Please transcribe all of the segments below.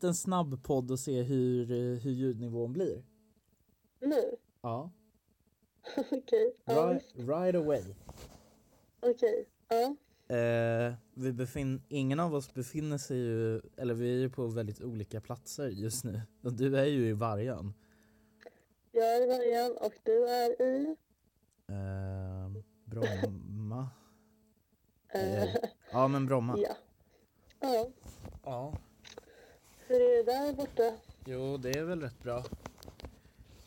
liten snabb podd och se hur, eh, hur ljudnivån blir. Nu? Ja. Okej. Ja, Right, visst. right away. Okej. Ja. Eh, vi befin- ingen av oss befinner sig ju, eller vi är ju på väldigt olika platser just nu. Och du är ju i Vargön. Jag är i Vargön och du är i... Eh, Bromma? eh, Eh, ja men Bromma. ja. Ja. Ja. Hur är det där borta? Jo det är väl rätt bra.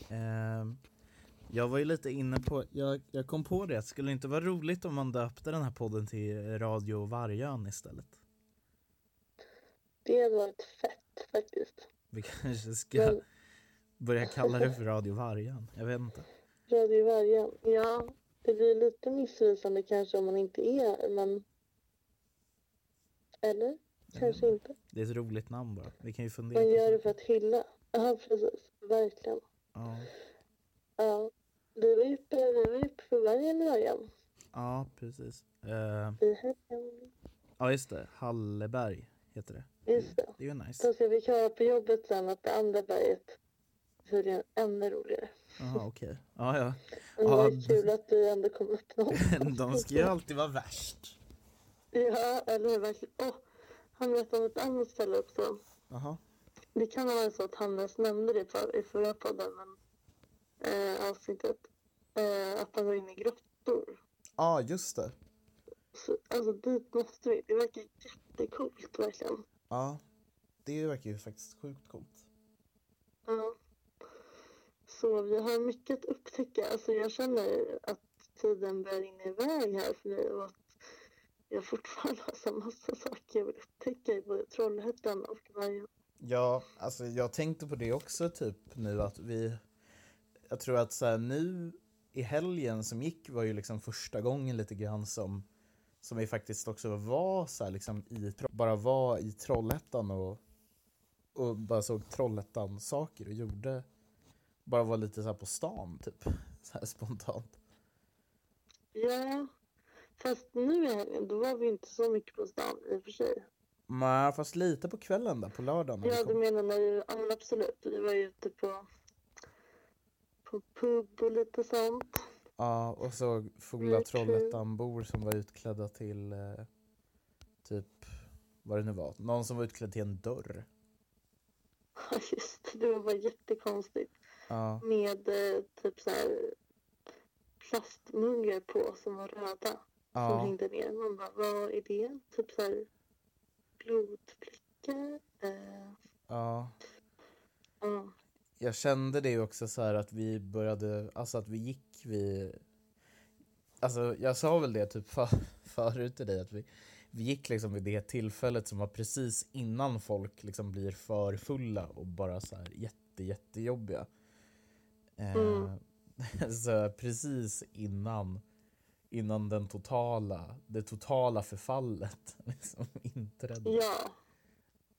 Ehm, jag var ju lite inne på, jag, jag kom på det, skulle det inte vara roligt om man döpte den här podden till Radio Vargön istället? Det hade varit fett faktiskt. Vi kanske ska Men börja kalla det för Radio Vargön, jag vet inte. Radio Vargön. Ja, det blir lite missvisande kanske om man inte är, men... Eller? Kanske inte. Det är ett roligt namn bara, vi kan ju fundera Man gör på det för att hylla. Ja, precis. Verkligen. ja. Ja. Vi var ju på, vi var ju på vargen i vargen. ja, precis. Ehm, I helgen. ja just det, Halleberg heter det. Just det. Det är ju nice. Då ska vi köra på jobbet sen att det andra berget tydligen är ännu roligare. Jaha okej. Ja ja. Men Ja, det är kul att vi ändå kom upp någonstans. De ska ju alltid vara värst. Ja, eller hur? Verkligen. Åh, han berättade om ett annat ställe också. Jaha. Det kan ha varit så att Hannes nämnde det för, i förra podden, men eh, avsnittet. Eh, att han går in i grottor. Ja just det. Så, alltså dit måste vi. Det verkar jättecoolt verkligen. Ja, det verkar ju faktiskt sjukt coolt. Ja. Så vi har mycket att upptäcka. Alltså jag känner att tiden börjar rinna iväg här för mig och att jag fortfarande har så massa saker jag vill upptäcka i både Trollhättan och Vargön. Ja, alltså jag tänkte på det också typ nu att vi... Jag tror att så här, nu i helgen som gick var ju liksom första gången lite grann som, som vi faktiskt också var så här, liksom i, Tro- bara var i Trollhättan och, och bara såg Trollhättan-saker och gjorde... Bara var lite så här på stan typ, så här spontant. Ja, fast nu i helgen då var vi inte så mycket på stan i och för sig. Nej, fast lite på kvällen där, på lördagen. när vi Ja, kom. du menar när vi, ja men absolut, vi var ju ute på, på pub och lite sånt. Ja, och så fula Mycket. Trollhättanbor som var utklädda till eh, typ vad det nu var. Någon som var utklädd till en dörr. Ja, just det, det var bara jättekonstigt. Ja, med eh, typ så här plastmuggar på som var röda som ja, hängde ner. Man bara, vad är det? Typ så här blodfläckar? Eh, ja. ja. Mm. Jag kände det också så här att vi började, alltså att vi gick vi Alltså jag sa väl det typ för, förut till dig att vi, vi gick liksom vid det tillfället som var precis innan folk liksom blir för fulla och bara så här jätte jättejobbiga. Eh, Mm. så precis innan innan den totala, det totala förfallet liksom inträdde. ja.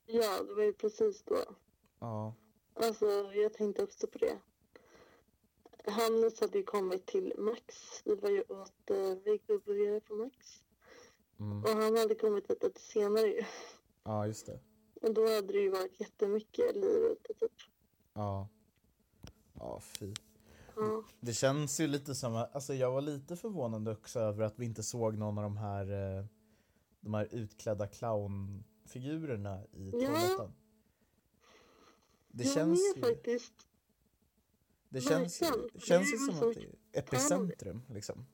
Ja, det var ju precis då. Ja. Alltså, jag tänkte också på det. Hannes hade ju kommit till Max. Vi var ju åt eh, vegoburgare på Max. Mm. Och han hade kommit dit lite senare ju. ja, just det. Och då hade det ju varit jättemycket liv ute typ. Ja. Ja, fy. Ja. Det känns ju lite som att, alltså jag var lite förvånad också över att vi inte såg någon av de här, eh, de här utklädda clownfigurerna i Ja. Trollhättan. Det jag känns med ju, faktiskt. det känns, ju- verkligen. det känns ju Det är som som- att det är epicentrum liksom.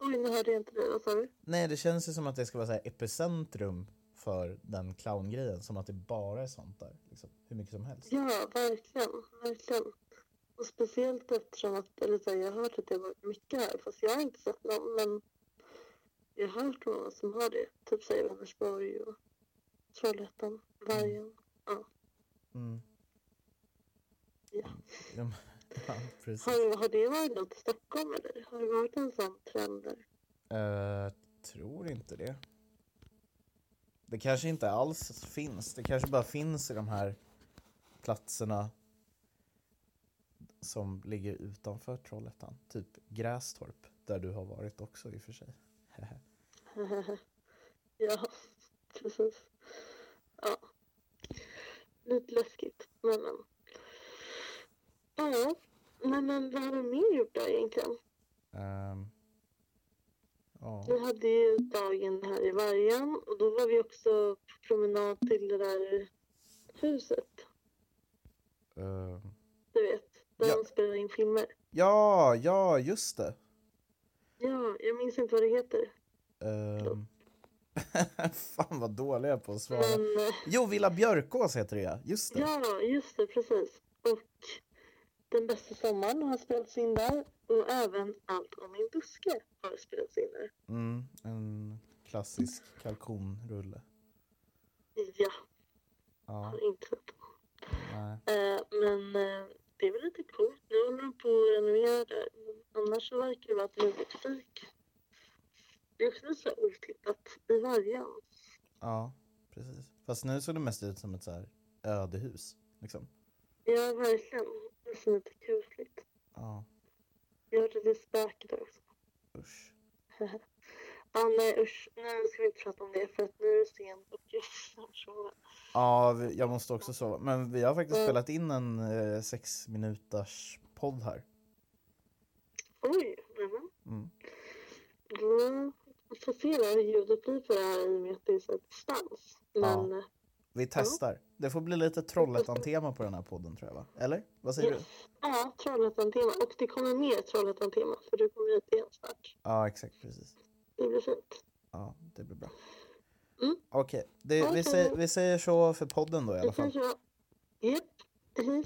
Oj, nu hörde jag inte dig. Vad sa du? Nej, det känns ju som att det ska vara så här epicentrum för den clowngrejen, som att det bara är sånt där, liksom, hur mycket som helst. Ja, verkligen. Verkligen. Och speciellt eftersom att, eller så här, jag har hört att det har varit mycket här, fast jag har inte sett någon, men jag har hört någon som har det. Typ så här, i Vänersborg och Trollhättan, Vargen. Mm. Ja. Ja, men- ja, precis. Har, har det varit något i Stockholm eller? Har det varit en sån trend där? Eh, tror inte det. Det kanske inte alls finns. Det kanske bara finns i de här platserna som ligger utanför Trollhättan. Typ Grästorp, där du har varit också i och för sig. ja, precis. Ja. lite läskigt. Men, men. Ja, men, men vad har vi mer gjort där egentligen? Ehm, ja. Vi hade ju dagen här i Vargön och då var vi också på promenad till det där huset, ehm. du vet, där Ja. de spelar in filmer. ja, ja, just det. Ja, jag minns inte vad det heter. Ehm. Fan vad dålig jag är på att svara. Men eh, Jo, Villa Björkås heter det ja. Just det. ja, just det, precis. Och Den bästa sommaren har spelats in där och även Allt om min buske har spelats in där. Mm, en klassisk kalkonrulle. Ja, Ja, har inte sett. nej. Eh, men eh, det är väl lite coolt. Nu håller de på att renovera där. Men Annars så verkar det vara ett litet fik. Det är också lite så här otippat i vargen. Ja, precis. Fast nu såg det mest ut som ett så här ödehus. Liksom. Ja, verkligen. Det är så lite kusligt. Ja, Jag hörde det spöket också. usch. Ah, nej usch, nu ska vi inte prata om det för att nu är det sent och jag snart sova. Ja, vi- jag måste också sova. Men vi har faktiskt Mm. spelat in en eh, sex minuters podd här. Oj, nämen. Mm. Då får se vad ljudet blir på det här i och med att det är så här distans. Men eh, Vi testar. Det får bli lite Trollhättan-tema på den här podden tror jag va? Eller? Vad Mm. säger du? ja, Trollhättan-tema. Och det kommer mer Trollhättan-tema för du kommer hit igen snart. Ja, exakt precis. Det blir fint. Ja, det blir bra. Mm. Okej, det- vi, Okej. säger- vi säger så för podden då i alla Det fall. kanske var... Japp. Hej.